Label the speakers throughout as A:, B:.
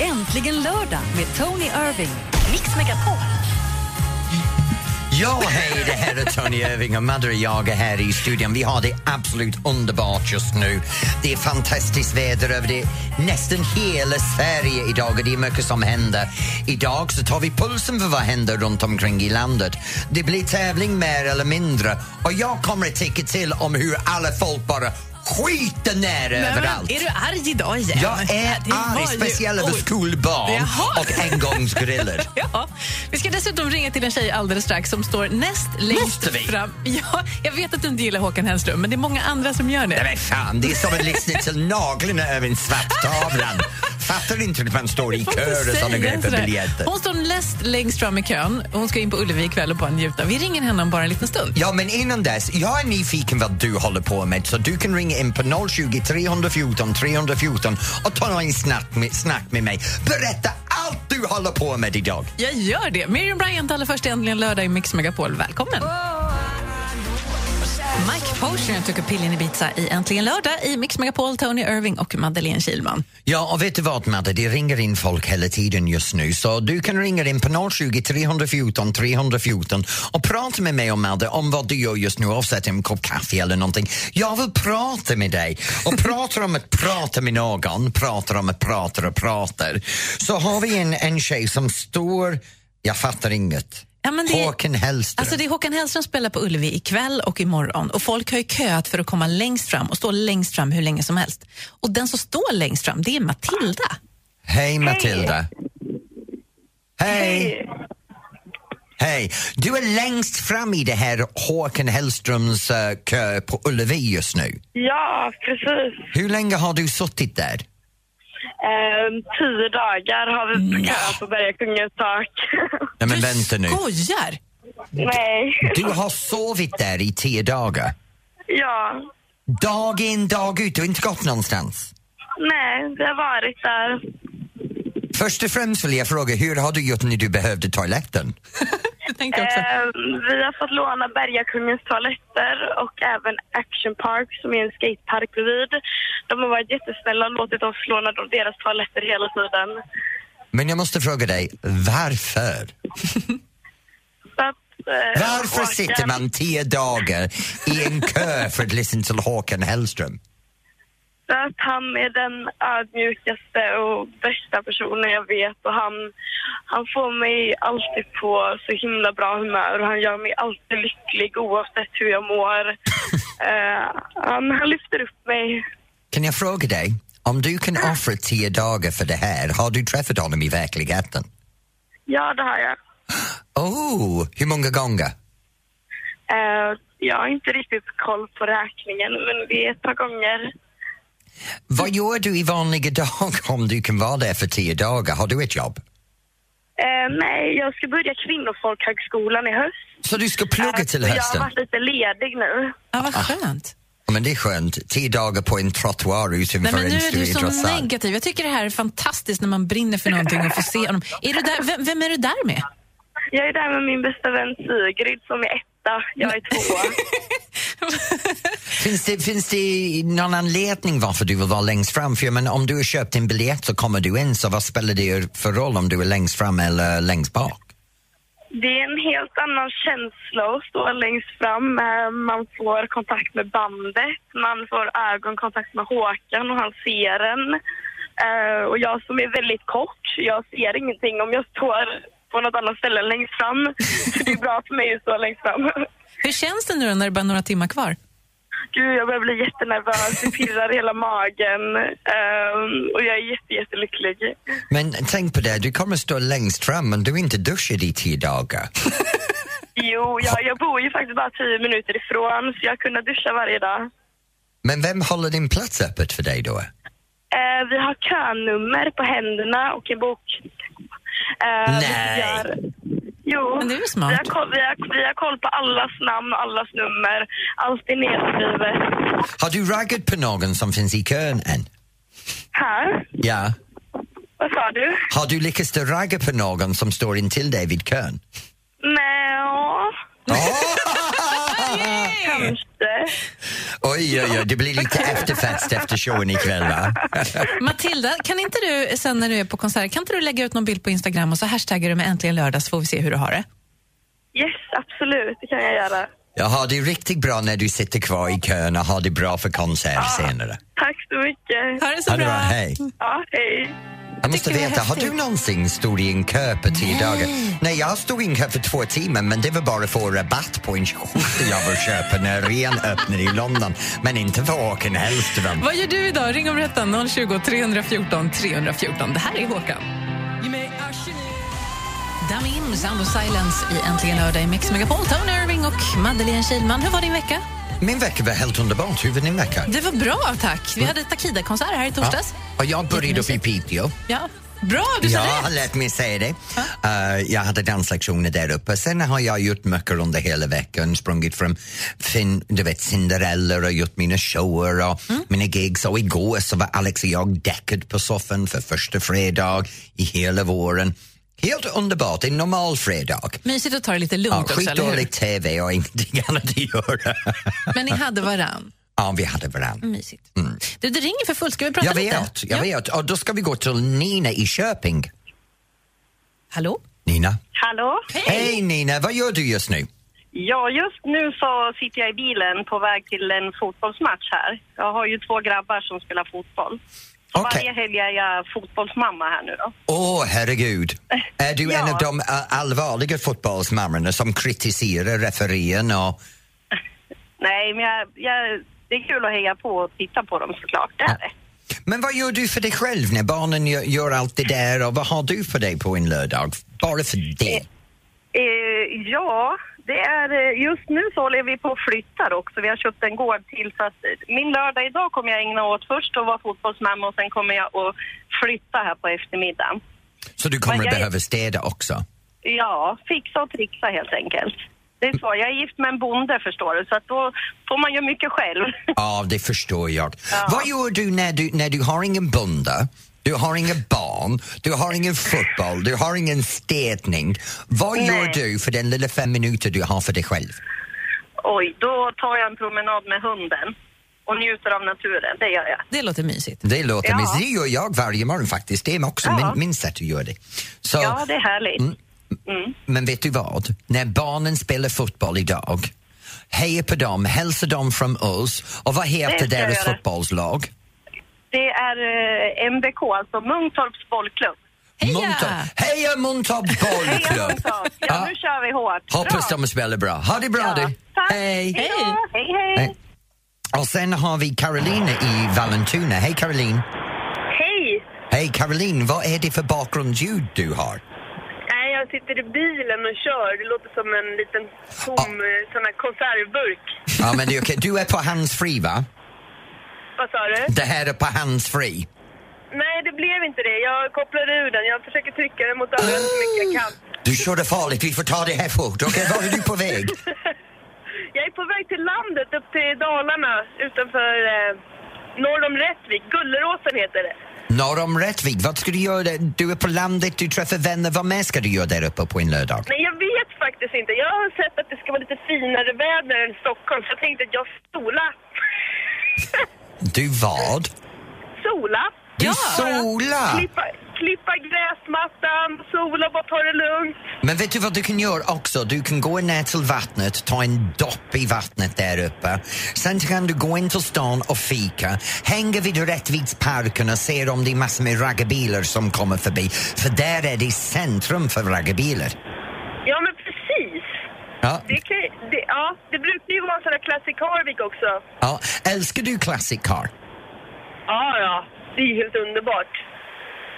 A: Äntligen lördag med Tony Irving.
B: Mix Megapol.
C: Ja, hej, det här är Tony Irving och Madde och jag är här i studion. Vi har det absolut underbart just nu. Det är fantastiskt väder över det, nästan hela Sverige idag och det är mycket som händer. Idag så tar vi pulsen för vad händer runt omkring i landet. Det blir tävling mer eller mindre och jag kommer att tycka till om hur alla folk bara skiter ner överallt.
B: Är du arg idag igen?
C: Jag är
B: Det var
C: arg,
B: ju-
C: speciellt över
B: Oj.
C: skolbarn
B: Jaha.
C: och engångsgriller.
B: Ja. Vi ska dessutom ringa till en tjej alldeles strax som står näst
C: Måste
B: längst
C: vi?
B: fram. Ja, jag vet att du inte gillar Håkan Hellström, men det är många andra som gör
C: Nej
B: det.
C: men fan, det är som att lyssna till naglarna över en svarttavlan. Fattar inte att man står i
B: Får inte
C: kör och såna
B: säga
C: grejer för
B: sådär.
C: biljetter?
B: Hon står näst längst fram i kön. Hon ska in på Ullevi ikväll och bara njuta. Vi ringer henne om bara en liten stund.
C: Ja, men innan dess, jag är nyfiken vad du håller på med så du kan ringa in på 020 314 314 och ta en snack med, snack med mig. Berätta allt du håller på med idag.
B: Jag gör det. Miriam Bryant allra först äntligen lördag i Mix Megapol. Välkommen! Mike Posner tog upp pillen i Ibiza i Äntligen lördag i Mix Megapol, Tony Irving och Madeleine Kilman.
C: Ja, och vet du vad Madde, det ringer in folk hela tiden just nu så du kan ringa in på 020 314 314 och prata med mig och Madde om vad du gör just nu, oavsett om en kopp kaffe eller någonting. Jag vill prata med dig och pratar om att prata med någon, pratar om att prata och pratar. Så har vi en, en tjej som står, jag fattar inget,
B: Ja, men det-
C: Håkan Hellström.
B: Alltså det är Håkan Hellström spelar på Ullevi ikväll och imorgon och folk har ju köat för att komma längst fram och stå längst fram hur länge som helst. Och den som står längst fram, det är Matilda.
C: Hej Matilda. Hej. Hej. Du är längst fram i det här Håkan Hellströms eh, kö på Ullevi just nu.
D: Ja, precis.
C: Hur länge har du suttit där?
D: Ehm, tio dagar har
C: Mm.
D: vi
B: Nej.
D: köat på Bergakungens tak.
C: Nej men
B: Du
C: vänta nu.
B: skojar!
D: Nej.
C: Du har sovit där i tio dagar.
D: Ja.
C: Dag in, dag ut. Du har inte gått någonstans.
D: Nej, vi har varit där.
C: Först och främst vill jag fråga, hur har du gjort när du behövde toaletten?
B: Det tänkte jag också.
D: Ehm, vi har fått låna Bergakungens toaletter och även Action Park som är en skatepark bredvid. De har varit jättesnälla och låtit oss låna då deras toaletter hela tiden.
C: Men jag måste fråga dig, varför?
D: Så att, eh,
C: Varför
D: Håkan-
C: sitter man tio dagar i en kö för att lyssna till Håkan Hellström?
D: Så att han är den ödmjukaste och bästa personen jag vet och han, han får mig alltid på så himla bra humör och han gör mig alltid lycklig oavsett hur jag mår. Eh, han, han lyfter upp mig.
C: Kan jag fråga dig, om du kan offra tio dagar för det här, har du träffat honom i verkligheten?
D: Ja, det har jag.
C: Oh, hur många gånger?
D: Eh, jag har inte riktigt koll på räkningen men det är ett par gånger.
C: Vad gör du i vanliga dagar om du kan vara där för tio dagar? Har du ett jobb?
D: Eh, nej, jag ska börja Kvinnofolkhögskolan i höst.
C: Så du ska plugga till
D: Eh, så Jag
C: hösten?
D: har varit lite ledig nu.
B: Ja, vad skönt.
C: Ja, Men det är skönt, tio dagar på en trottoar
B: Nej,
C: utanför
B: men nu
C: en
B: är
C: stor
B: du så
C: intressant.
B: negativ. Jag tycker det här är fantastiskt när man brinner för någonting och får se honom. Är du där, vem, vem är du där med?
D: Jag är där med min bästa vän Sigrid som är etta, jag är tvåa.
C: Finns det, finns det någon anledning varför du vill vara längst fram? För jag menar, om du har köpt en biljett så kommer du in, så vad spelar det för roll om du är längst fram eller längst bak?
D: Det är en helt annan känsla att stå längst fram. Eh, Man får kontakt med bandet, man får ögonkontakt med Håkan och han ser en. Eh, Och jag som är väldigt kort, jag ser ingenting om jag står på något annat ställe än längst fram. Så det är bra för mig att stå längst fram.
B: Hur känns det nu då när det bara är några timmar kvar?
D: Gud, jag börjar bli jättenervös, det pirrar i hela magen Eh, och jag är jätte, jättelycklig.
C: Men tänk på det, du kommer stå längst fram men du är inte duschad i tio dagar.
D: Jo, jag, jag bor ju faktiskt bara tio minuter ifrån så jag kunde duscha varje dag.
C: Men vem håller din plats öppet för dig då?
D: Eh, vi har könummer på händerna och en bok. Eh,
C: Nej.
D: vi Gör... Jo,
B: Men det är ju smart.
D: Vi, har koll, vi, har, vi har koll på allas namn och allas nummer. Allt är nedskrivet.
C: Har du raggat på någon som finns i kön än?
D: Här?
C: Ja.
D: Vad sa du?
C: Har du lyckats att ragga på någon som står intill dig vid kön?
D: Nej, ja,
C: Åh,
D: kanske.
C: Och Oj, oj, oj, det blir lite efterfest efter showen ikväll va?
B: Matilda, kan inte du sen när du är på konsert, kan inte du lägga ut någon bild på Instagram och så hashtaggar du med äntligen lördag så får vi se hur du har det?
D: Yes, absolut. Det kan jag göra.
C: Jag har det riktigt bra när du sitter kvar i kön och har det bra för konsert senare.
D: Tack så mycket.
B: Ha det så
C: Ha det
B: bra.
C: bra, hej.
D: Ja, hej.
C: Jag måste
B: tycker det är
C: veta, har du
B: häftigt.
C: någonsin stått i en kö på tio dagar? Nej, jag stod i en kö för två timmar men det var bara för att få rabatt på en skjorta jag var köpa när ren öppnade i London. Men inte för Håkan Hellström.
B: Vad gör du idag? Ring och berätta 020 314 314. Det här är Håkan. Damim, Sound of Silence i Äntligen lördag i Mix Megapol. Tony Irving och Madeleine Kilman. Hur var din vecka?
C: Min vecka var helt underbart. Hur var din vecka?
B: Det var bra, tack. Vi hade Takida-konsert här i torsdags.
C: Och jag började upp i Piteå.
B: Ja. Bra, du sa
C: Ja,
B: rätt!
C: har lärt mig säga det. Eh, jag hade danslektioner där uppe. Sen har jag gjort mycket under hela veckan. Sprungit från fin, du vet, Cinderella och gjort mina shower och
B: Mm.
C: mina gigs. Och igår så var Alex och jag däckad på soffan för första fredag i hela våren. Helt underbart, en normal fredag.
B: Mysigt att ta det lite
C: Ja,
B: lugnt också, eller hur?
C: skitdålig TV och ingenting annat att göra.
B: Men ni hade varann.
C: ja, vi hade varandra.
B: Mysigt. Du, det ringer för fullt. Ska vi prata
C: Mm. Jag
B: lite?
C: vet, jag
B: Mm. Ja.
C: vet. Och då ska vi gå till Nina i Köping.
B: Hallå?
C: Nina?
D: Hallå?
C: Hej Nina, vad gör du just nu?
D: Ja, just nu så sitter jag i bilen på väg till en fotbollsmatch här. Jag har ju två grabbar som spelar fotboll. Så
C: Okej.
D: Varje helg är jag fotbollsmamma här nu då.
C: Åh, herregud. Är du en
D: Ja.
C: av de ä, allvarliga fotbollsmammorna som kritiserar referien? Och...
D: Nej, men jag, jag, det är kul att heja på och titta på dem såklart. Det är det.
C: Men vad gör du för dig själv när barnen gör, gör allt det där och vad har du för dig på en lördag? Bara för det?
D: Eh, ja, det är, eh, just nu så håller vi på och flyttar också. Vi har köpt en gård till. Så att eh, min lördag idag kommer jag ägna åt först att vara fotbollsmamma och sen kommer jag att flytta här på eftermiddagen.
C: Så du kommer
D: Men
C: att
D: jag-
C: behöva städa också?
D: Ja, fixa och trixa helt enkelt. Det är så. Jag är gift med en bonde förstår du, så att då får man ju mycket själv.
C: Ja, det förstår jag.
D: Ja.
C: Vad gör du när du, när du har ingen bonde, du har inga barn, du har ingen fotboll, du har ingen städning. Vad gör
D: Nej.
C: du för den lilla fem minuter du har för dig själv?
D: Oj, då tar jag en promenad med hunden och njuter av naturen. Det gör jag.
B: Det låter mysigt.
C: Det låter
D: Ja.
C: mysigt. Det gör jag varje morgon faktiskt. Det är också
D: Ja.
C: min, min sätt att göra det. Så,
D: Ja, det är härligt. Mm.
C: Men vet du vad? När barnen spelar fotboll idag, heja på dem, hälsa dem från oss. Och vad heter
D: ska jag
C: deras
D: göra.
C: fotbollslag?
D: Det är eh, MBK, alltså Muntorps bollklubb.
B: Heja!
C: Muntorp. Heja Muntorps
D: Heja
C: bollklubb!
D: Muntorp! Ja,
C: Ja.
D: nu kör vi hårt.
C: Hoppas
D: Bra.
C: de spelar bra. Ha det bra
D: Ja.
C: du!
D: Tack.
C: Hej!
D: Hej, då. hej!
C: Hej. Och sen har vi Caroline i Vallentuna. Hej Caroline!
D: Hej!
C: Hej Caroline, vad är det för bakgrundsljud du har?
E: Nej, jag sitter i bilen och kör. Det låter som en liten tom
C: Ah.
E: eh, sån här konservburk.
C: Ja, men det är okej. Du är på handsfree va?
E: Vad sa du?
C: Det här är på handsfree.
E: Nej, det blev inte det. Jag kopplade ur den. Jag försöker trycka den mot örat så mycket jag kan.
C: Du körde farligt, vi får ta det här fort. Okej, var är du på väg?
E: Jag är på väg till landet, upp till Dalarna, utanför eh, norr om Rättvik. Gulleråsen heter det.
C: Norr om Rättvik, vad ska du göra? där? Du är på landet, du träffar vänner. Vad mer ska du göra där uppe på en lördag?
E: Nej, jag vet faktiskt inte. Jag har sett att det ska vara lite finare väder än Stockholm, så jag tänkte att jag sola.
C: Du vad?
E: sola.
C: Du
B: Ja.
C: solar!
E: Klippa, klippa gräsmattan, sola, bara ta det lugnt.
C: Men vet du vad du kan göra också? Du kan gå ner till vattnet, ta en dopp i vattnet där uppe. Sen kan du gå in till stan och fika, hänga vid Rättviksparken och se om det är massor med raggarbilar som kommer förbi. För där är det centrum för raggarbilar.
E: Ja, men precis.
C: Ja.
E: Det, kan, det, ja, det brukar ju vara en sån där klassisk Harvik också.
C: Ja. Älskar du classic car?
E: Ja, ja. Det är ju helt underbart.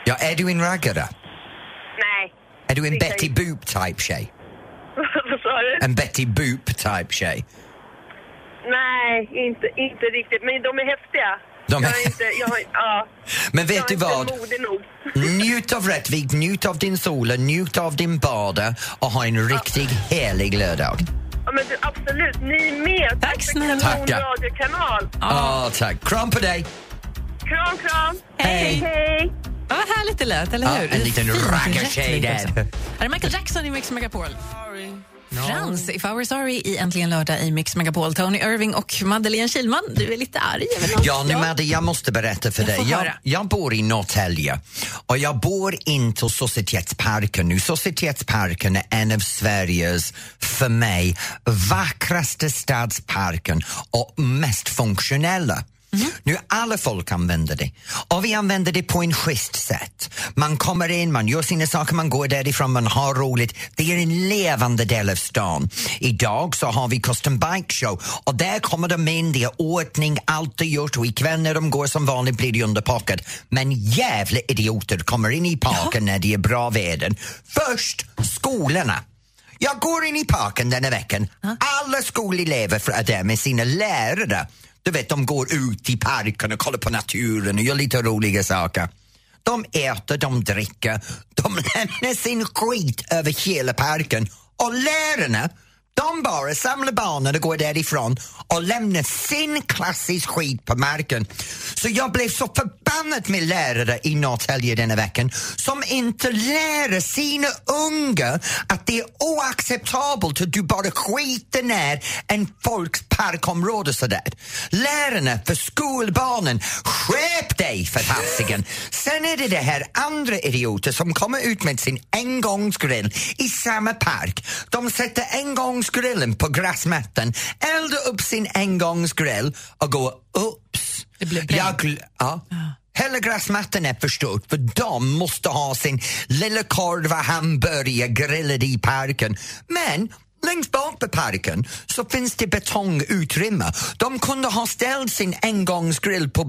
C: Ja, är du en raggare?
E: Nej.
C: Är du en
E: Det kan
C: Betty
E: ju-
C: Boop type tjej?
E: Vad sa du?
C: En Betty Boop type tjej?
E: Nej, inte, inte riktigt. Men de är häftiga.
C: De är-
E: Jag är inte, jag har, ja.
C: Men vet
E: jag
C: du
E: är inte
C: vad?
E: modig nog.
C: Njut av Rättvik, njut av din sol, njut av din bada och ha en riktig härlig lördag.
E: Ja, men du, absolut. Ni med.
B: Tack snälla.
E: Tack.
C: Tackar.
E: radiokanal.
C: Ja, tack. Kram på dig!
E: Kram, kram.
B: Hej!
E: Hej.
B: Ja, vad härligt det lät, eller
C: Ja,
B: hur?
C: en liten
B: Fint,
C: raggartjej
B: rätt liksom. liv
C: där.
B: också. Här är Michael Jackson i Mix Megapol. Frans, If I Were Sorry i Äntligen lördag i Mix Megapol. Tony Irving och Madeleine Kilman. du är lite arg. över något.
C: Ja, nu Madde, jag måste berätta för
B: Jag
C: dig.
B: får
C: Jag,
B: höra.
C: jag bor i Norrtälje och jag bor inte hos Societetsparken nu. Societetsparken är en av Sveriges, för mig, vackraste stadsparken och mest funktionella.
B: Mhm.
C: Nu alla folk använder det och vi använder det på en schysst sätt. Man kommer in, man gör sina saker, man går därifrån, man har roligt. Det är en levande del av stan. Idag så har vi Custom Bike Show och där kommer de in, det är ordning, allt är gjort och ikväll när de går som vanligt blir det underpackat. Men jävla idioter kommer in i parken när det är bra väder. Först skolorna. Jag går in i parken denna veckan. Alla skolelever för- är där med sina lärare. Du vet, de går ut i parken och kollar på naturen och gör lite roliga saker. De äter, de dricker, de lämnar sin skit över hela parken och lärarna de bara samlar barnen och går därifrån och lämnar sin klassis skit på marken. Så jag blev så förbannad med lärare i Norrtälje denna veckan som inte lär sina unga att det är oacceptabelt att du bara skiter ner en folks parkområde sådär. Lärarna för skolbarnen, skärp dig för fasiken! Sen är det det här andra idioter som kommer ut med sin engångsgrill i samma park. De sätter engångsgrillen på gräsmattan, eldar upp sin engångsgrill och går ups.
B: Det blev bränt.
C: Jag gl- ja. Hela gräsmattan är förstörd för de måste ha sin lilla korv och hamburgare grillad i parken. Men längst bak på parken så finns det betongutrymme. De kunde ha ställt sin engångsgrill på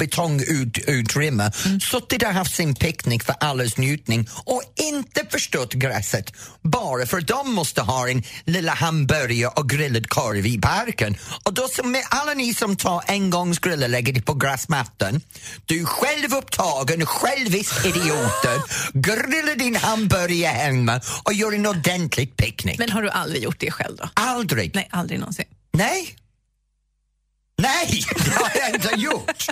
C: betongutrymme,
B: Mm.
C: suttit där och haft sin picknick för allas njutning och inte förstört gräset bara för de måste ha en lilla hamburgare och grillad korv i parken. Och då som med alla ni som tar engångsgrillar lägger det på gräsmattan. Du självupptagen, självisk idioten grillar din hamburgare hemma och gör en ordentlig picknick.
B: Men har du aldrig gjort det själv då?
C: Aldrig!
B: Nej, aldrig någonsin.
C: Nej! Nej, det har jag inte gjort!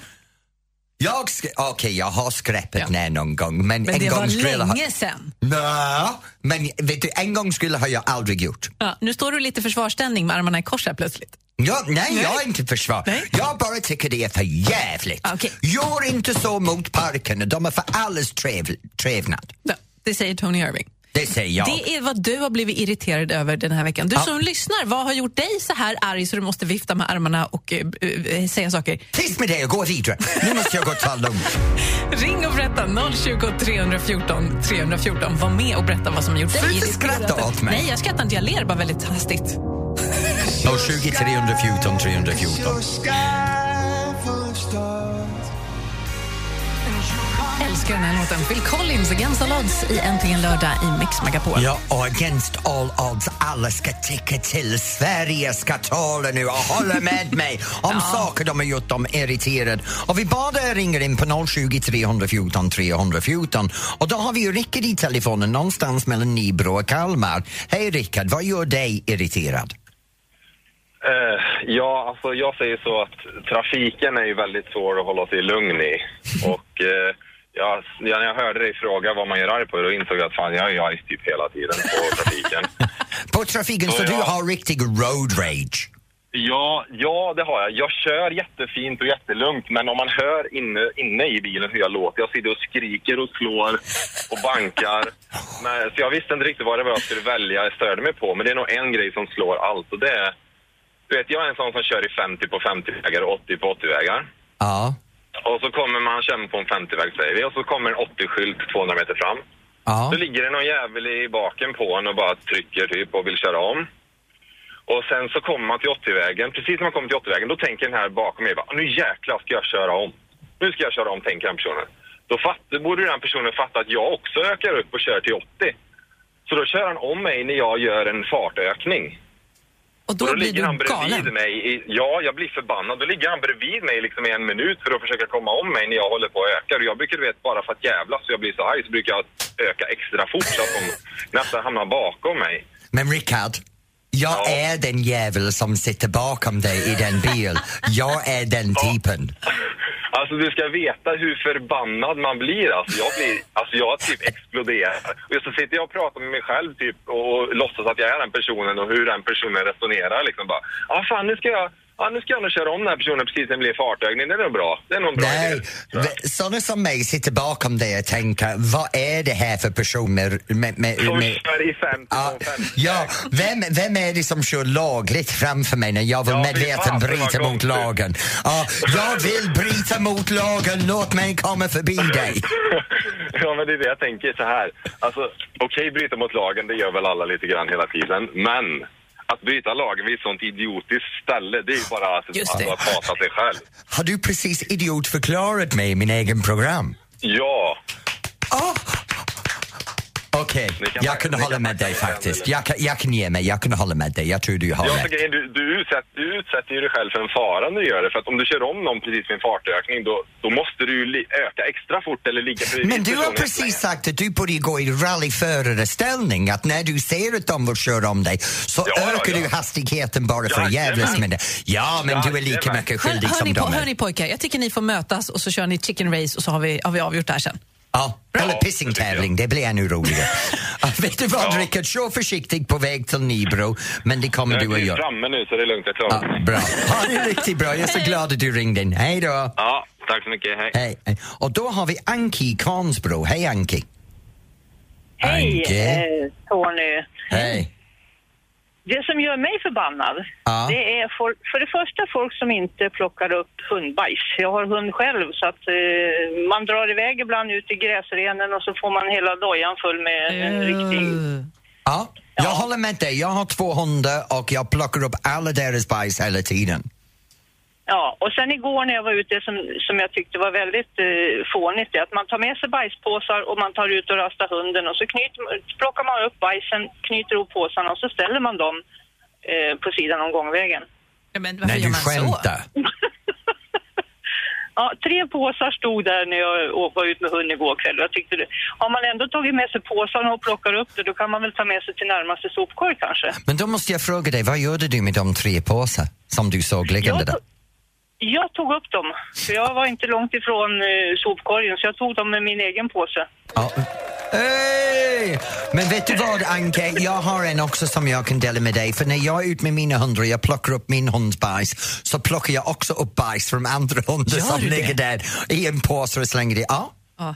C: Jag sk- Okej, jag har skräpat ner någon gång men,
B: Men det var
C: engångsgrillar har...
B: länge sen.
C: Nå, men vet du, engångsgrillar har jag aldrig gjort.
B: Ja, nu står du lite i försvarsställning med armarna i kors här plötsligt.
C: Ja, nej, jag är inte försvar.
B: Nej.
C: Jag bara tycker det är för jävligt.
B: Okej.
C: Gör inte så mot parkerna, de är för allas trev, trevnad.
B: Ja, det säger Tony Irving.
C: Det säger jag.
B: Det är vad du har blivit irriterad över den här veckan. Du som lyssnar, vad har gjort dig så här arg så du måste vifta med armarna och eh, eh, säga saker?
C: Tyst med dig och gå vidare. Nu måste jag gå och ta lugnt.
B: Ring och berätta 020 314 314. Var med och berätta vad som har gjort dig
C: Sluta skratta åt mig.
B: Nej, jag skrattar inte. Jag ler bara väldigt hastigt.
C: 020 314 314.
B: Älskar den här låten. Phil Collins, Guns N' Lodds i Äntligen lördag i Mix Megapol.
C: Ja, och against all odds, alla ska tycka till. Sverige ska tala nu och hålla med mig om saker de har gjort dem irriterad. Och vi bad er ringa in på 020 314 314 och då har vi ju Rickard i telefonen någonstans mellan Nybro och Kalmar. Hej Rickard, vad gör dig irriterad?
F: Eh, ja, alltså jag säger så att trafiken är ju väldigt svår att hålla sig lugn i. Och eh, jag, ja, när jag hörde dig fråga vad man gör arg på då insåg jag att fan, jag är ju arg typ hela tiden på trafiken.
C: På trafiken, så
F: Ja,
C: du
F: ja.
C: har riktig road rage.
F: ja, ja, det har jag. Jag kör jättefint och jättelugnt, men om man hör inne, inne i bilen hur jag låter, jag sitter och skriker och slår och bankar. Men, så jag visste inte riktigt vad det var jag skulle välja, jag störde mig på, men det är nog en grej som slår allt och det är, du vet, jag är en sån som kör i 50 på 50-vägar och 80 på 80-vägar.
C: Ja,
F: Och så kommer man känna på en 50-väg säger vi och så kommer en 80-skylt 200 meter fram.
C: ja.
F: Då ligger det någon jävel i baken på en och bara trycker typ och vill köra om. Och sen så kommer man till 80-vägen. Precis när man kommer till 80-vägen då tänker den här bakom mig bara nu jäklar ska jag köra om. Nu ska jag köra om tänker den personen. Då fatt, borde den personen fatta att jag också ökar upp och kör till 80. Så då kör han om mig när jag gör en fartökning.
B: Och då,
F: Och då
B: blir
F: ligger
B: du
F: han bredvid
B: galen.
F: mig. I, ja, jag blir förbannad. Då ligger han bredvid mig liksom i en minut för att försöka komma om mig när jag håller på att öka. Och jag brukar, du vet, bara för att jävlas och jag blir så arg så brukar jag öka extra fort så att de nästan hamnar bakom mig.
C: Men Rickard, jag
F: Ja.
C: är den jävel som sitter bakom dig i den bil. Jag är den typen.
F: Alltså du ska veta hur förbannad man blir. Alltså jag blir, alltså jag typ exploderar. Och så sitter jag och pratar med mig själv typ och låtsas att jag är den personen och hur den personen resonerar liksom bara. Ja ah, fan nu ska jag, ah, nu ska jag nog köra om den här personen precis när det blir fartökning. Det är nog bra. Det är nog en bra idé.
C: Nej,
F: tror jag.
C: v- sådana som mig sitter bakom det och tänker, vad är det här för person med... med, med,
F: Som
C: med
F: kör i 50
C: Ja,
F: på 50.
C: Ah, ja, vem, vem är det som kör lagligt framför mig när jag vill
F: Ja, fy
C: medveten
F: fan, det var
C: bryta mot
F: konstigt.
C: lagen? Ja, jag vill bryta mot lagen, låt mig komma förbi dig.
F: ja, men det är det jag tänker så här. Alltså, okej, bryta mot lagen, det gör väl alla lite grann hela tiden. Men att bryta lagen vid ett sånt idiotiskt ställe, det är ju bara att
B: Just
F: att
B: det.
F: du har hatat dig själv.
C: Har du precis idiotförklarat mig i min egen program?
F: Ja,
C: Ah! Okej,
F: Ni kan
C: jag
F: packa-
C: kunde
F: ni kan
C: hålla med
F: packa
C: dig
F: ner den,
C: faktiskt.
F: eller?
C: Jag kan, jag kan ge mig, jag kunde hålla med dig. Jag tror du har
F: jag
C: rätt.
F: tycker, du, du, utsätter, du utsätter ju dig själv för en fara när du gör det. För att om du kör om någon precis vid en fartökning, då, då måste du ju li- öka extra fort eller ligga precis
C: Men du har
F: personen.
C: precis sagt att du borde gå i rallyförarställning, att när du ser att de vill köra om dig så
F: Ja, ja,
C: ökar
F: ja.
C: du hastigheten bara för att
F: Jajamän.
C: jävlas med dig. Ja, men du är lika
F: Jajamän.
C: mycket
B: Hör,
C: skyldig
B: hör,
C: som
B: ni, po-
C: de
B: hör
C: är.
B: ni pojkar, jag tycker ni får mötas och så kör ni chicken race och så har vi, har vi avgjort det här sen.
C: Ja, eller
F: Ja,
C: pissingtävling, det blir ännu roligare. Ja, Vet du vad, Rickard? Kör försiktigt på väg till Nybro, men det kommer
F: Jag
C: du att
F: är
C: göra.
F: framme nu så det är lugnt, jag klarar
C: Ja,
F: mig.
C: bra. Ha det riktigt bra. Jag är så glad att du ringde in. Hej då!
F: Ja, tack så mycket, hej.
C: Hej, hej. Och då har vi Anki i Kvarnsbro. Hej Anki!
D: Hej,
C: Anke.
D: eh, Tony.
C: Hej!
D: Det som gör mig förbannad,
C: Ja.
D: det är för, för det första folk som inte plockar upp hundbajs. Jag har hund själv så att eh, man drar iväg ibland ut i gräsrenen och så får man hela dojan full med
B: Eh.
D: en riktig...
C: Ja, jag håller med dig. Jag har två hundar och jag plockar upp alla deras bajs hela tiden.
D: Ja, och sen igår när jag var ute, som, som jag tyckte var väldigt eh, fånigt, det är att man tar med sig bajspåsar och man tar ut och rastar hunden och så knyter, plockar man upp bajsen, knyter ihop påsarna och så ställer man dem eh, på sidan om gångvägen.
B: Ja, men varför
C: Nej,
B: gör
C: du
B: man så?
C: skämtar.
D: Ja, tre påsar stod där när jag å- var ut med hunden igår kväll. Jag tyckte det, har man ändå tagit med sig påsarna och plockar upp det, då kan man väl ta med sig till närmaste sopkorg kanske.
C: Men då måste jag fråga dig, vad gjorde du med de tre påsar som du såg liggande
D: Jag,
C: där?
D: to- jag tog upp dem, för jag var inte långt ifrån eh, sopkorgen, så jag tog dem med min egen påse.
C: Ja. Hej! Men vet du vad, Anke? Jag har en också som jag kan dela med dig. För när jag är ute med mina hundar och jag plockar upp min hunds bajs så plockar jag också upp bajs från andra hundar
B: Gör
C: som
B: du det?
C: ligger där i en påse och slänger det. Ja,
B: Ja.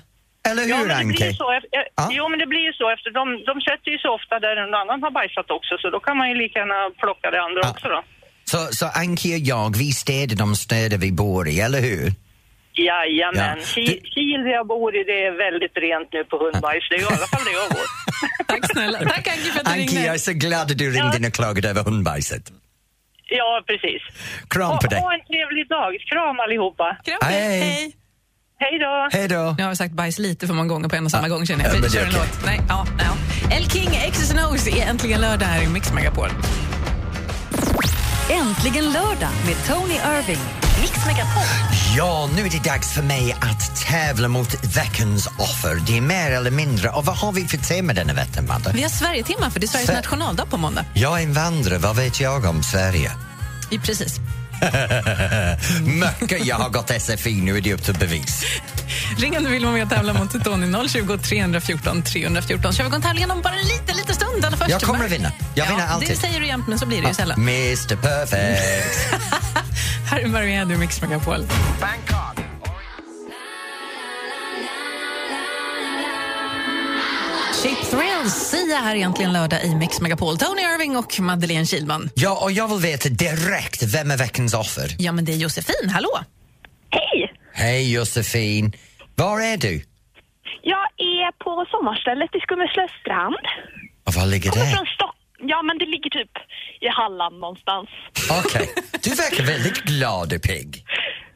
C: eller hur
D: Ja, men det
C: Anke?
D: blir ju så. ef- eh,
C: Ja.
D: Jo, men det blir ju så. Efter de, de sätter ju så ofta där en annan har bajsat också, så då kan man ju lika gärna plocka det andra
C: Ja.
D: också då.
C: Så, så Anki och jag, vi städar de städer vi bor i, eller hur?
D: Jajamän.
C: Ja.
D: Ki-
C: Det-
D: Kil där jag bor i, det är väldigt rent nu på hundbajs. Det är ju i alla fall där jag bor.
B: Tack snälla. Tack Anki för att du
C: Anki,
B: ringde.
C: jag är så glad att du ringde in och klagade över hundbajset.
D: Ja, precis.
C: Kram på
D: Ha,
C: dig.
D: ha en trevlig dag. Kram allihopa.
B: Kram,
C: Hej.
B: hej. hej.
D: Hej då.
C: Hej då.
B: Nu har vi sagt bajs lite för många gånger på en och samma
C: Ja.
B: gång känner jag.
C: Ja,
B: Vi
C: men det
B: kör
C: är
B: en
C: okej.
B: låt. Nej, ja, ja. El King, X's and O's är äntligen lördag här i Mix Megapol.
G: Äntligen lördag med Tony Irving. Mix Megapol.
C: Ja, nu är det dags för mig att tävla mot veckans offer. Det är mer eller mindre. Och vad har vi för tema denna veckan, Madde?
B: Vi har Sverigetimmar för det är Sveriges
C: Sve-
B: nationaldag på måndag.
C: Jag är invandrare, vad vet jag om Sverige?
B: I precis.
C: Mycket, jag har gått SFI, nu är det upp till bevis.
B: Ring om du vill vara med och tävla mot Tony 020 314 314. Kör vi igång tävlingen om bara en liten, liten stund. Eller först
C: Jag kommer
B: Mark.
C: att vinna. Jag vinner alltid.
B: Det säger du jämt, men så blir det ju sällan.
C: Mr Perfect.
B: Här är Maria Andrew, Mix Megapol. Chip Thrills, Sia här egentligen lördag i Mix Megapol. Tony Irving och Madeleine Kilman.
C: Ja, och jag vill veta direkt, vem är veckans offer?
B: Ja, men det är Josefin. Hallå!
H: Hej!
C: Hej Josefin, var är du?
H: Jag är på sommarstället i Skummeslövstrand.
C: Och var ligger
H: Kommer
C: det?
H: från Stockholm. Ja, men det ligger typ i Halland någonstans.
C: Okej, du verkar väldigt glad och pigg.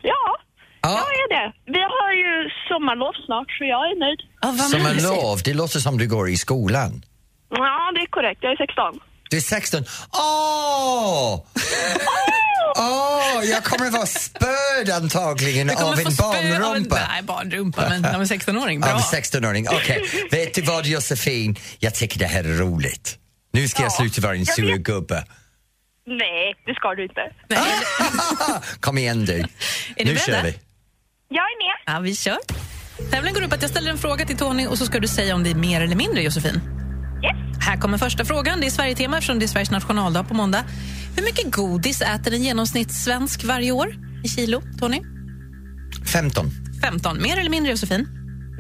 H: Ja,
C: Ja.
H: jag är det. Vi har ju sommarlov snart, så jag är nöjd.
B: Ja, vad
C: Som en
B: mysigt.
C: lov, det låter som du går i skolan.
H: Ja, det är korrekt. Jag är 16.
C: Du är 16. Åh! Åh, jag kommer att vara spöd antagligen
B: Du kommer
C: av
B: få
C: en
B: spö av en-
C: barnrumpa.
B: Nej, barnrumpa, men av en 16-åring.
C: Av en
B: Bra.
C: 16-åring. Okej, vet du vad Josefin? Jag tycker det här är roligt. Nu ska jag sluta vara en
H: jag
C: sur
H: vet.
C: gubbe.
H: Nej, det ska du inte.
C: Ah!
B: Nej,
C: Kom igen du.
B: ni
C: Nu
B: beredda?
C: kör vi.
H: Jag är med.
B: Ja, vi kör. Tävlingen går ut på att jag ställer en fråga till Tony och så ska du säga om det är mer eller mindre, Josefin.
H: Yes.
B: Här kommer första frågan. Det är Sverige-tema eftersom det är Sveriges nationaldag på måndag. Hur mycket godis äter en genomsnittssvensk varje år i kilo, Tony?
C: 15.
B: 15. Mer eller mindre, Josefin?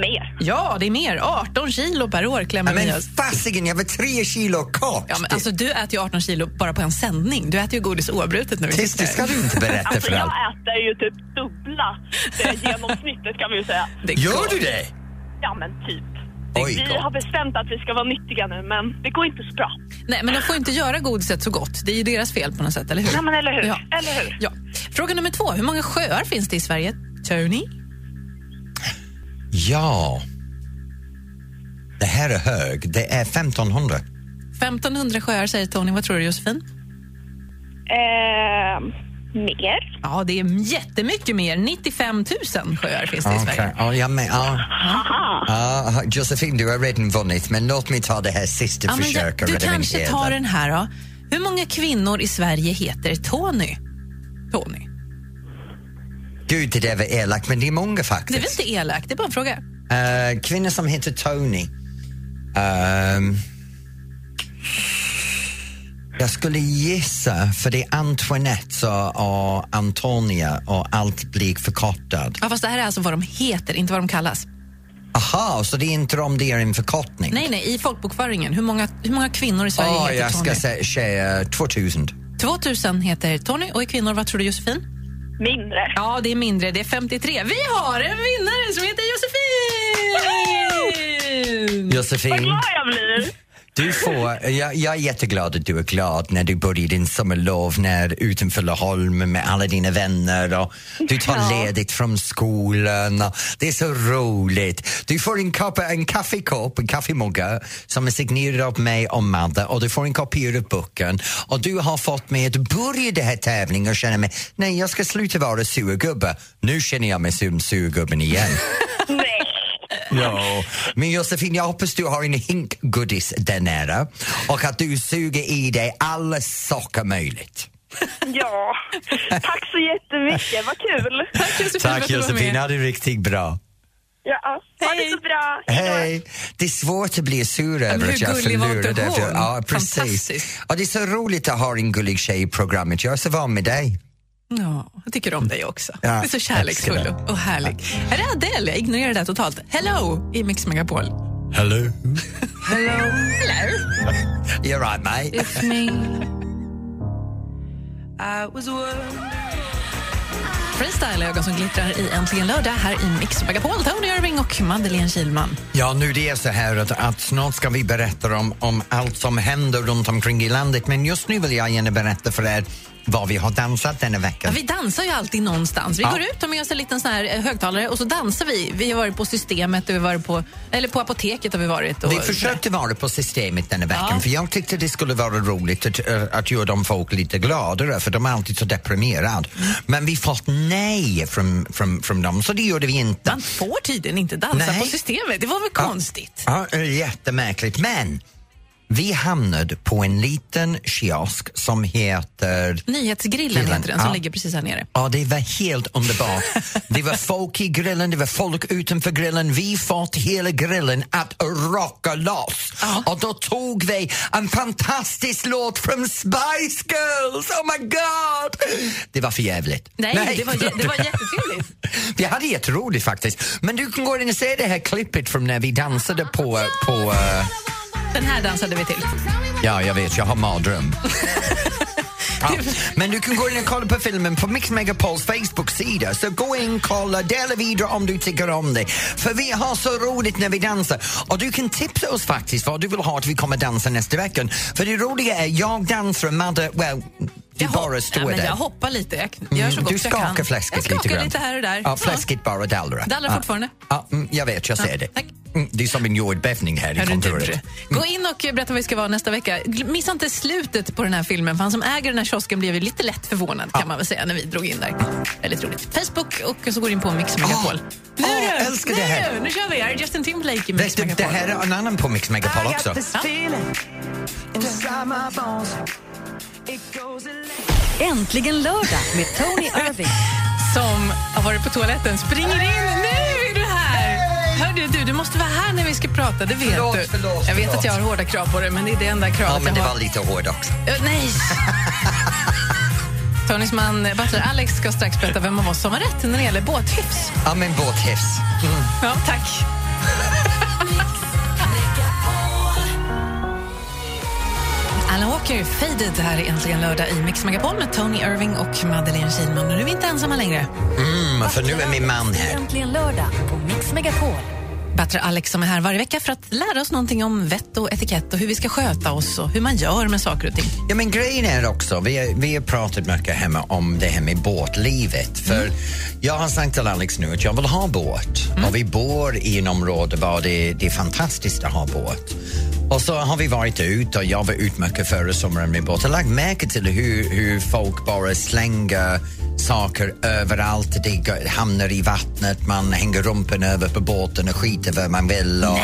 H: Mer.
B: Ja, det är mer. 18 kilo per år
C: Ja,
B: klämmer vi
C: men
B: oss.
C: fasiken, jag var tre kilo kort!
B: Ja, men alltså, du äter ju 18 kilo bara på en sändning. Du äter ju godis oavbrutet nu.
C: Tyst, det ska du inte berätta
E: Alltså
C: för
E: jag
C: allt.
E: äter ju typ dubbla det genomsnittet kan vi ju säga.
B: Det är
C: Gör
B: klart.
C: du det?
E: Ja men typ.
C: Oj,
E: vi
C: gott.
E: har bestämt att vi ska vara nyttiga nu men det går inte så bra.
B: Nej, men de får inte göra godiset så gott. Det är ju deras fel på något sätt, eller hur?
E: Nej men eller hur?
B: Ja.
E: Eller hur?
B: Ja. Fråga nummer två. Hur många sjöar finns det i Sverige, Tony?
C: Ja. Det här är hög. Det är 1500.
B: 1500 sjöar säger Tony. Vad tror du, Josefin?
H: Eh, mer.
B: Ja, det är jättemycket mer. 95 000 sjöar finns det i Sverige.
C: Okej, ja, jag med. Ja. Ja, Josefin, du har redan vunnit, men låt mig ta det här sista
B: Ja, men jag-
C: försöket.
B: du
C: rädda min
B: kanske
C: heder.
B: tar den här då. Hur många kvinnor i Sverige heter Tony? Tony.
C: Gud, det där var elakt, men det är många
B: Det är väl
C: faktiskt.
B: inte elakt? Det är bara en fråga.
C: Eh, kvinnor som heter Tony. Ehm, jag skulle gissa, för det är Antoinette så- och Antonia och allt blir förkortat.
B: Ja, fast det här är alltså vad de heter, inte vad de kallas.
C: Aha, så det är inte om det är en förkortning?
B: Nej, nej, i folkbokföringen. Hur många, hur många kvinnor i Sverige
C: Ja,
B: heter
C: Ah, jag
B: Tony?
C: ska säga tjejer, 2000.
B: 2000 heter Tony och är kvinnor, vad tror du Josefin?
E: Mindre.
B: Ja, det är mindre. Det är 53. Vi har en vinnare som heter Josefin!
E: Vad
C: Josefin,
E: glad jag blir!
C: du får, jag, jag är jätteglad att du är glad när du börjar din sommarlov när, utanför Laholm med alla dina vänner och du tar ledigt från skolan. Och det är så roligt. Du får en, kopp, en kaffekopp, en kaffemugga som är signerad av mig och Madde och du får en kopia av boken och du har fått mig att börja den här tävlingen och känna mig, nej jag ska sluta vara surgubbe. Nu känner jag mig som surgubben igen.
E: Nej.
C: Ja, men Josefin, jag hoppas du har en hink godis där nära och att du suger i dig alla saker möjligt.
E: Ja. Tack så jättemycket, vad kul!
B: Tack Josefin för att du var med.
C: ha det riktigt bra.
E: Ja, ha det så bra!
C: Hej! Det är svårt att bli sur över
B: hur
C: att jag
B: gullig var inte
C: förlorade.
B: hon?
C: efter- Ja, precis.
B: Fantastiskt.
C: Och det är så roligt att ha en gullig tjej i programmet. Jag är så van med dig.
B: Ja, jag tycker om dig också.
C: Ja,
B: du är så kärleksfull
C: älskar
B: och, och härlig. Här är Adele, jag ignorerar det här totalt. Hello i Mix Megapol.
C: Hello. Hello. Hello. You're right, mate.
B: Freestyle ögon som glittrar i Äntligen lördag här i Mix Megapol. Tony Irving och Madeleine Kilman.
C: Ja, nu det är så här att, att snart ska vi berätta om, om allt som händer runt omkring i landet men just nu vill jag gärna berätta för er vad vi har dansat denna vecka.
B: Ja, vi dansar ju alltid någonstans. Vi
C: Ja.
B: går ut, tar med oss en liten sån här eh, högtalare och så dansar vi. Vi har varit på Systemet, och vi har varit på, eller på apoteket har vi varit. Och,
C: Vi försökte vara på systemet denna veckan
B: Ja.
C: för jag tyckte det skulle vara roligt att, eh, att göra de folk lite gladare för de är alltid så deprimerade. Men vi fått nej från, från, från dem så det gjorde vi inte.
B: Man får tydligen inte dansa
C: Nej.
B: på Systemet. Det var väl konstigt?
C: Ja, det är jättemärkligt. Men vi hamnade på en liten kiosk som heter
B: Nyhetsgrillen
C: Grillen,
B: heter den, som
C: ja.
B: ligger precis här nere.
C: Ja, det var helt underbart. Det var folk i grillen, det var folk utanför grillen. Vi fått hela grillen att rocka loss. Och då tog vi en fantastisk låt från Spice Girls! Oh my god! Det var för jävligt.
B: Nej, Det, var, jä- det var jättetrevligt.
C: Vi hade jätteroligt faktiskt. Men du kan gå in och se det här klippet från när vi dansade på... på eh,
B: Den här dansade vi till.
C: Ja, jag vet. Jag har mardröm. Ja. Men du kan gå in och kolla på filmen på Mix Megapols Facebook-sida. Så gå in, kolla, dela vidare om du tycker om det. För vi har så roligt när vi dansar. Och du kan tipsa oss faktiskt vad du vill ha att vi kommer dansa nästa vecka. För det roliga är, jag dansar och Madde, well, vi
B: Jag hop-
C: bara står
B: ja, men
C: där. Mm.
B: Jag hoppar lite. Jag gör så gott
C: du
B: jag kan.
C: skakar
B: Jag
C: fläskigt
B: skakar
C: lite grann.
B: lite här och där.
C: Ja, fläskigt bara dallra.
B: Dallrar
C: Ja.
B: fortfarande.
C: Ja, mm, jag vet, jag ser
B: Ja,
C: det.
B: tack.
C: Mm, det är som en jordbävning här
B: Ja,
C: i
B: du
C: kontoret.
B: gjorde det. Gå in och berätta vad vi ska vara nästa vecka. Gl- Missa inte slutet på den här filmen, för han som äger den här kiosken blev ju lite lätt förvånad kan man väl säga när vi drog in där. Väldigt roligt. Facebook och så går du in på Mix Megapol.
C: Åh,
B: nu
C: åh,
B: du!
C: Ah. älskar
B: nu,
C: det här.
B: nu kör vi! Här är Justin Timberlake i
C: Vet
B: Mix
C: du, det
B: Megapol.
C: här är en annan på Mix Megapol också.
A: Äntligen lördag med Tony Irving.
B: som har varit på toaletten springer in. Nu är du här! Hörde du, du måste vara här när vi ska prata, det vet
C: Förlåt,
B: du.
C: förlåt,
B: jag vet
C: förlåt.
B: att jag har hårda krav på dig, men det är det enda
C: Ja,
B: kravet
C: men det
B: jag
C: var
B: har.
C: lite hård också.
B: Ö, nej! Tonys man, eh, Butler Alex, ska strax berätta vem av oss som har rätt när det gäller båthyfs.
C: Ja, men båthyfs.
B: Ja, tack. Alan Walker, Faded, här är äntligen lördag i Mix Megapol med Tony Irving och Madeleine Kihlman. Och nu är vi inte ensamma längre.
C: Mm, för nu är min man här.
A: Äntligen lördag på Mix Megapol.
B: Bättre Alex som är här varje vecka för att lära oss någonting om vett och etikett och hur vi ska sköta oss och hur man gör med saker och ting.
C: Ja, men grejen är också, vi har, vi har pratat mycket hemma om det här med båtlivet. För Jag har sagt till Alex nu att jag vill ha båt och vi bor i en område där det, det är fantastiskt att ha båt. Och så har vi varit ut och jag var ut mycket förra sommaren med båt och lagt märke till hur, hur folk bara slänger saker överallt. Det går- hamnar i vattnet, man hänger rumpen över på båten och skiter vad man vill. Och,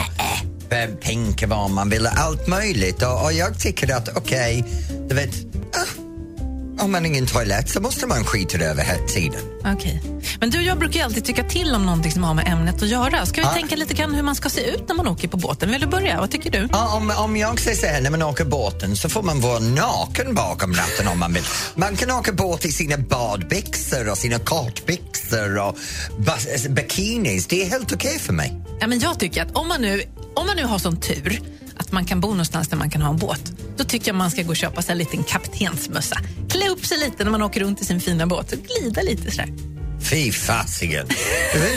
C: vem tänker vad man vill, allt möjligt. Och, och jag tycker att okej, du vet, ah, om man ingen toalett så måste man skita över hela tiden.
B: Okej. Men du och jag brukar ju alltid tycka till om någonting som har med ämnet att göra. Ska vi
C: Ja.
B: tänka lite grann hur man ska se ut när man åker på båten? Vill du börja? Vad tycker du?
C: Ja, om, om jag säger så här, när man åker båten så får man vara naken bakom ratten om man vill. Man kan åka båt i sina badbyxor och sina kortbyxor och bas- bikinis. Det är helt okej för mig.
B: Ja, men jag tycker att om man, nu, om man nu har sån tur att man kan bo någonstans där man kan ha en båt, då tycker jag man ska gå och köpa sig en liten kaptensmössa. Klä upp sig lite när man åker runt i sin fina båt och glida lite sådär.
C: Fy fasiken.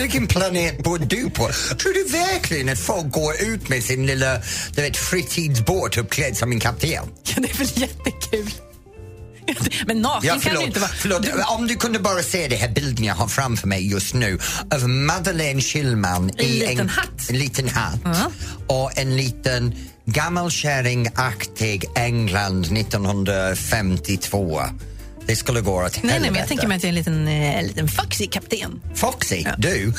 C: Vilken planet bor du på? Tror du verkligen att folk går ut med sin lilla du vet, fritidsbåt uppklädd som en kapten?
B: Ja, det är väl jättekul? Men naken
C: Ja,
B: kan
C: förlåt,
B: det inte vara.
C: förlåt. Om du kunde bara se den här bilden jag har framför mig just nu av Madeleine Schillman
B: I en liten hatt.
C: en liten hatt och en liten gammal kärringaktig England 1952. Det skulle gå åt
B: Nej, nej, men
C: helvete.
B: jag tänker mig att jag är en liten, eh, liten foxy kapten.
C: Foxy, du!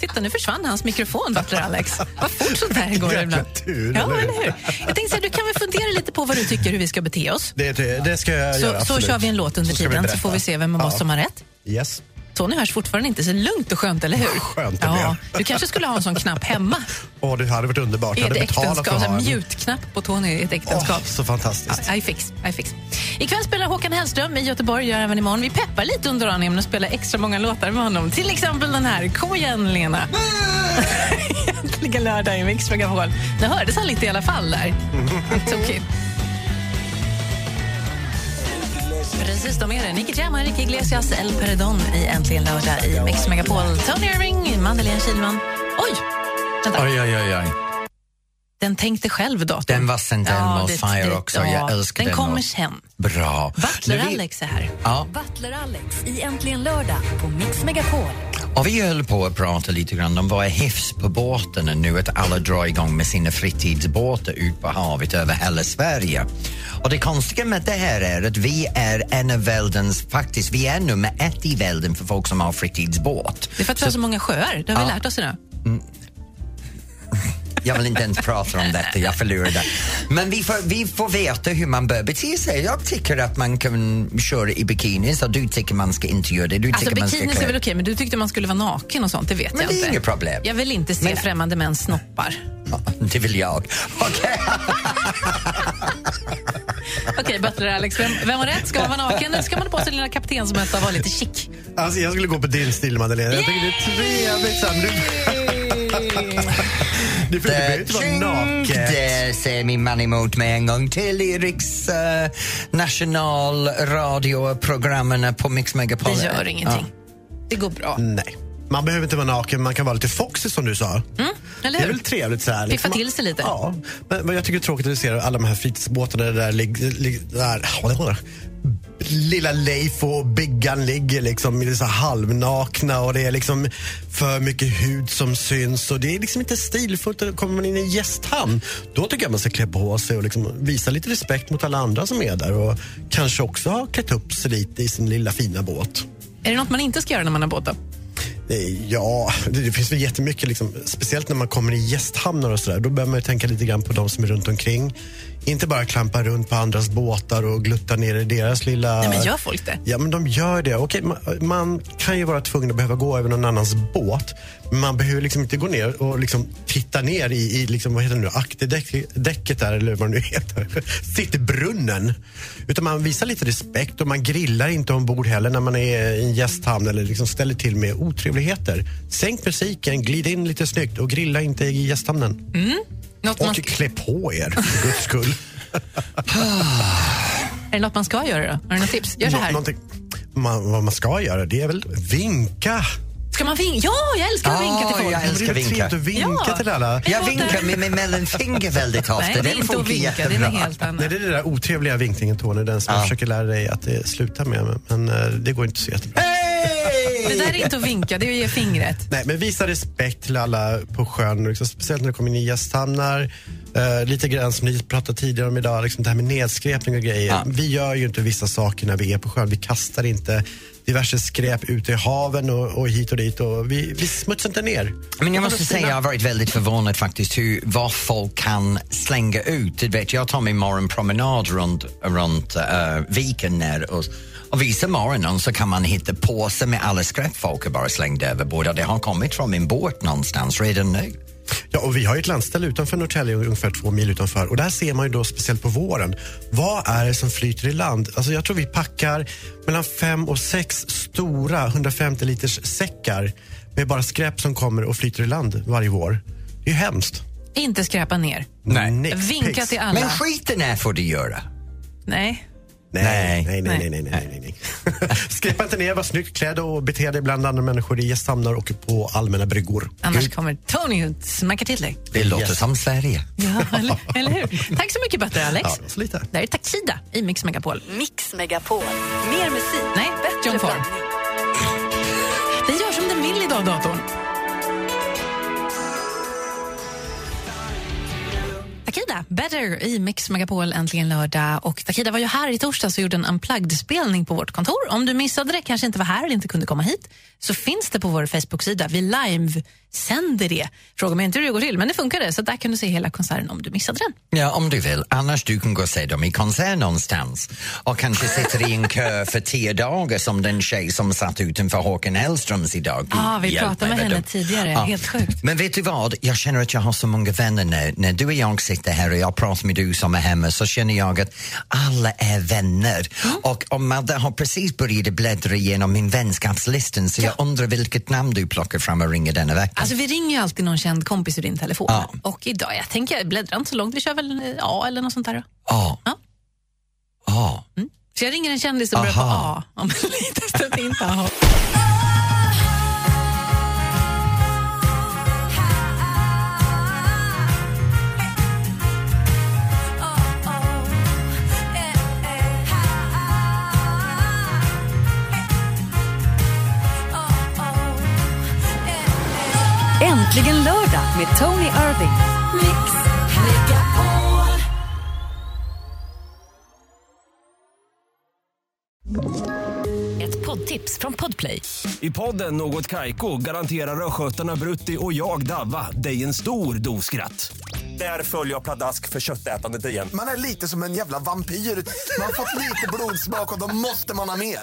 B: Titta, nu försvann hans mikrofon, Butler Alex. Vad fort sånt här går ibland.
I: tur,
B: Ja,
I: eller hur?
B: eller hur? Jag tänkte säga, du kan väl fundera lite på vad du tycker hur vi ska bete oss.
I: Det, det ska jag göra,
B: Så, så
I: absolut.
B: kör vi en låt under
I: Så ska vi
B: tiden så
I: berätta.
B: får vi se vem av oss
I: Ja.
B: som har rätt.
I: Yes.
B: Tony hörs fortfarande inte, så lugnt och skönt, eller hur?
I: Skönt det
B: ja,
I: blev.
B: Du kanske skulle ha en sån knapp hemma
I: Åh, det hade varit underbart.
B: i
I: Jag
B: ett
I: hade betalat
B: äktenskap.
I: för att
B: Så
I: ha
B: En
I: en.
B: mjutknapp på Tony i ett äktenskap.
I: Åh, så fantastiskt.
B: I fix, I fix. Ikväll spelar Håkan Hellström i Göteborg, gör även imorgon. Vi peppar lite under dagen genom att spela extra många låtar med honom. Till exempel den här. Kom igen, Lena! Äntligen lördag i Mix Megapol. Nu hördes han lite i alla fall där. Tokigt. Precis, de är det. Nicky Jam, Enrique Iglesias, El Peredon i Äntligen lördag i Mix Megapol. Tony Irving, Madeleine Kihlman. Oj! Vänta.
C: Oj, oj, oj, oj.
B: Den tänkte själv, datorn.
C: Den var St. Elmo's
B: det-
C: Fire
B: det-
C: också. Jag älskar
B: den.
C: den.
B: kommer
C: låten.
B: sen.
C: Bra.
B: Butler
C: Nu vi-
B: Alex är här.
C: Ja,
A: Butler Alex i Äntligen lördag på Mix Megapol.
C: och vi höll på att prata lite grann om vad är hyfs på båten och nu att alla drar igång med sina fritidsbåtar ut på havet över hela Sverige. Och det konstiga med det här är att vi är en av världens, faktiskt, vi är nummer ett i världen för folk som har fritidsbåt.
B: Det är för att vi har så många sjöar. Det har vi lärt oss idag.
C: Jag vill inte ens prata om detta, jag förlorade. Men vi får, vi får veta hur man bör bete sig. Jag tycker att man kan köra i bikini, så du tycker man ska inte göra det. Du
B: Alltså
C: tycker man ska
B: bikinis
C: klä-
B: är väl okej, men du tyckte man skulle vara naken och sånt. Det vet
C: Men
B: jag
C: det är
B: inte.
C: inget problem.
B: Jag vill inte se
C: Men-
B: främmande mäns snoppar.
C: Ja, Det vill jag. Okej.
B: Okej, Butler Alex, vem, vem har rätt? Ska man vara naken eller ska man ha på sig lilla kaptensmössa och vara lite chic?
I: Alltså, jag skulle gå på din stil, Madeleine. Jag tycker det är trevligt. Sam. Du, du, du behöver inte vara
C: Tjing!
I: naken.
C: Det säger min man emot mig en gång till i riks eh, nationalradioprogrammen på Mix Megapol.
B: Det gör ingenting. Det går bra.
I: Nej. Man behöver inte vara naken, man kan vara lite foxy som du sa.
B: Mm, Eller
I: Det är
B: hur?
I: väl trevligt så här. liksom.
B: Piffa till sig lite.
I: Ja, men vad jag tycker är tråkigt är att se alla de här fritidsbåtarna där, lig, lig, där lilla Leif och Biggan ligger liksom i så här halvnakna och det är liksom för mycket hud som syns och det är liksom inte stilfullt. Och Kommer man in i gästhamn, då tycker jag man ska klä på sig och liksom visa lite respekt mot alla andra som är där och kanske också ha klätt upp sig lite i sin lilla fina båt.
B: Är det något man inte ska göra när man har båt då?
I: Eh, Ja, det, det finns väl jättemycket. Liksom, speciellt när man kommer i gästhamnar och sådär. Då börjar man ju tänka lite grann på de som är runt omkring. Inte bara klampa runt på andras båtar och glutta ner i deras lilla...
B: Nej, men gör folk det?
I: Ja, men de gör det. Okej, man, man kan ju vara tvungen att behöva gå över någon annans båt. Men man behöver liksom inte gå ner och liksom titta ner i, i liksom, vad heter det nu, akterdäcket där, eller vad det nu heter. Sittbrunnen. Utan man visar lite respekt och man grillar inte ombord heller när man är i en gästhamn eller liksom ställer till med otrevligheter. Sänk musiken, glid in lite snyggt och grilla inte i gästhamnen.
B: Mm. Något man,
I: Och klä på er, för guds skull.
B: är det något man ska göra då? Har du något tips? Gör så här.
I: Nå- någonting- man, vad man ska göra, det är väl vinka.
B: Ska man vinka? Ja, jag älskar att vinka till
C: Ja,
B: folk.
C: jag
I: Det
C: älskar
I: är trevligt
C: vinka.
I: att vinka
B: Ja.
I: till alla.
C: Jag vinkar med min mellanfinger väldigt ofta.
B: Nej, det är
C: Den
B: inte att
C: funkar
B: vinka. Det är
C: jättebra.
B: något helt
I: Nej,
B: annat.
I: det är det där otrevliga vinkningen, Tony, den som
C: Ja.
I: jag försöker lära dig att eh, sluta med. men- Men eh, det går inte så jättebra.
B: Det där är inte att vinka, det är att ge fingret.
I: Nej, men visa respekt till alla på sjön, liksom, speciellt när du kommer in i gästhamnar. Eh, lite grann som ni pratade tidigare om idag, liksom det här med nedskräpning och grejer.
C: Ja.
I: Vi gör ju inte vissa saker när vi är på sjön. Vi kastar inte diverse skräp ute i haven och, och hit och dit. Och vi, vi smutsar inte ner.
C: Men jag
I: Och
C: måste
I: då-
C: säga, jag har varit väldigt förvånad faktiskt hur, vad folk kan slänga ut. Du vet, jag tar min morgonpromenad runt, runt eh, viken där och, och vissa morgonen så kan man hitta påsar med alla skräp folk har bara slängt överbord och det har kommit från min båt någonstans redan nu.
I: Ja, och vi har ju ett landställe utanför Norrtälje, ungefär två mil utanför. Och där ser man ju då, speciellt på våren, vad är det som flyter i land? Alltså jag tror vi packar mellan fem och sex stora 150 liters säckar med bara skräp som kommer och flyter i land varje vår. Det är ju hemskt.
B: Inte skräpa ner.
C: Nej.
I: Nix,
B: Vinka
I: pix.
B: till alla.
C: Men skiten är får du göra.
B: Nej.
I: Nej, nej, nej,
B: Nej.
I: nej, nej, nej, nej, nej. Skräpa inte ner, var snyggt klädd och bete dig bland andra människor i gästhamnar och på allmänna bryggor.
B: Annars kommer Tony och smackar till dig.
C: Det låter som Sverige.
B: Ja, eller, eller hur? Tack så mycket, Bättre Alex.
I: Ja, det var så lite.
B: Det här är Takida i Mix Megapol.
A: Mix Megapol. Mer musik,
B: Nej,
A: bättre
B: John Paul.
A: blandning.
B: Den gör som den vill idag, datorn. Takida, Better i Mix Megapol äntligen lördag. Och Takida var ju här i torsdags och gjorde en unplugged-spelning på vårt kontor. Om du missade det, kanske inte var här eller inte kunde komma hit, så finns det på vår Facebook-sida. Vi live-sänder det. Fråga mig inte hur det går till, men det funkade. Så där kan du se hela konserten om du missade den.
C: Ja, om du vill. Annars du kan gå och se dem i konsert någonstans och kanske sitter i en kö för tio dagar som den tjej som satt utanför Håkan Hellströms idag. Gud,
B: Ja, Ah, vi
C: Mm, hjälp
B: pratade
C: mig
B: med henne
C: det.
B: tidigare. Helt sjukt.
C: Men vet du vad? Jag känner att jag har så många vänner nu. När du och jag sitter här och jag pratar med du som är hemma så känner jag att alla är vänner.
B: Mm.
C: Och, och Madde har precis börjat bläddra igenom min vänskapslista så jag undrar vilket namn du plockar fram och ringer denna vecka.
B: Alltså, vi ringer ju alltid någon känd kompis ur din telefon.
C: Ja.
B: Och idag, jag tänker, jag bläddrar inte så långt. Vi kör väl eh, A eller något sånt där. då.
C: Ja.
B: Ja.
C: Ja.
B: Så jag ringer en kändis som börjar på A.
C: Aha.
B: Om en liten stund inte A.
A: Äntligen lördag med Tony Irving. Ett poddtips från Podplay.
J: I podden Något Kaiko garanterar östgötarna Brutti och jag, Davva, dig en stor dos skratt. Där följer jag pladask för köttätandet igen.
K: Man är lite som en jävla vampyr. Man har fått lite blodsmak och då måste man ha mer.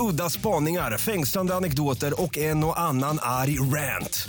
J: Udda spaningar, fängslande anekdoter och en och annan arg rant.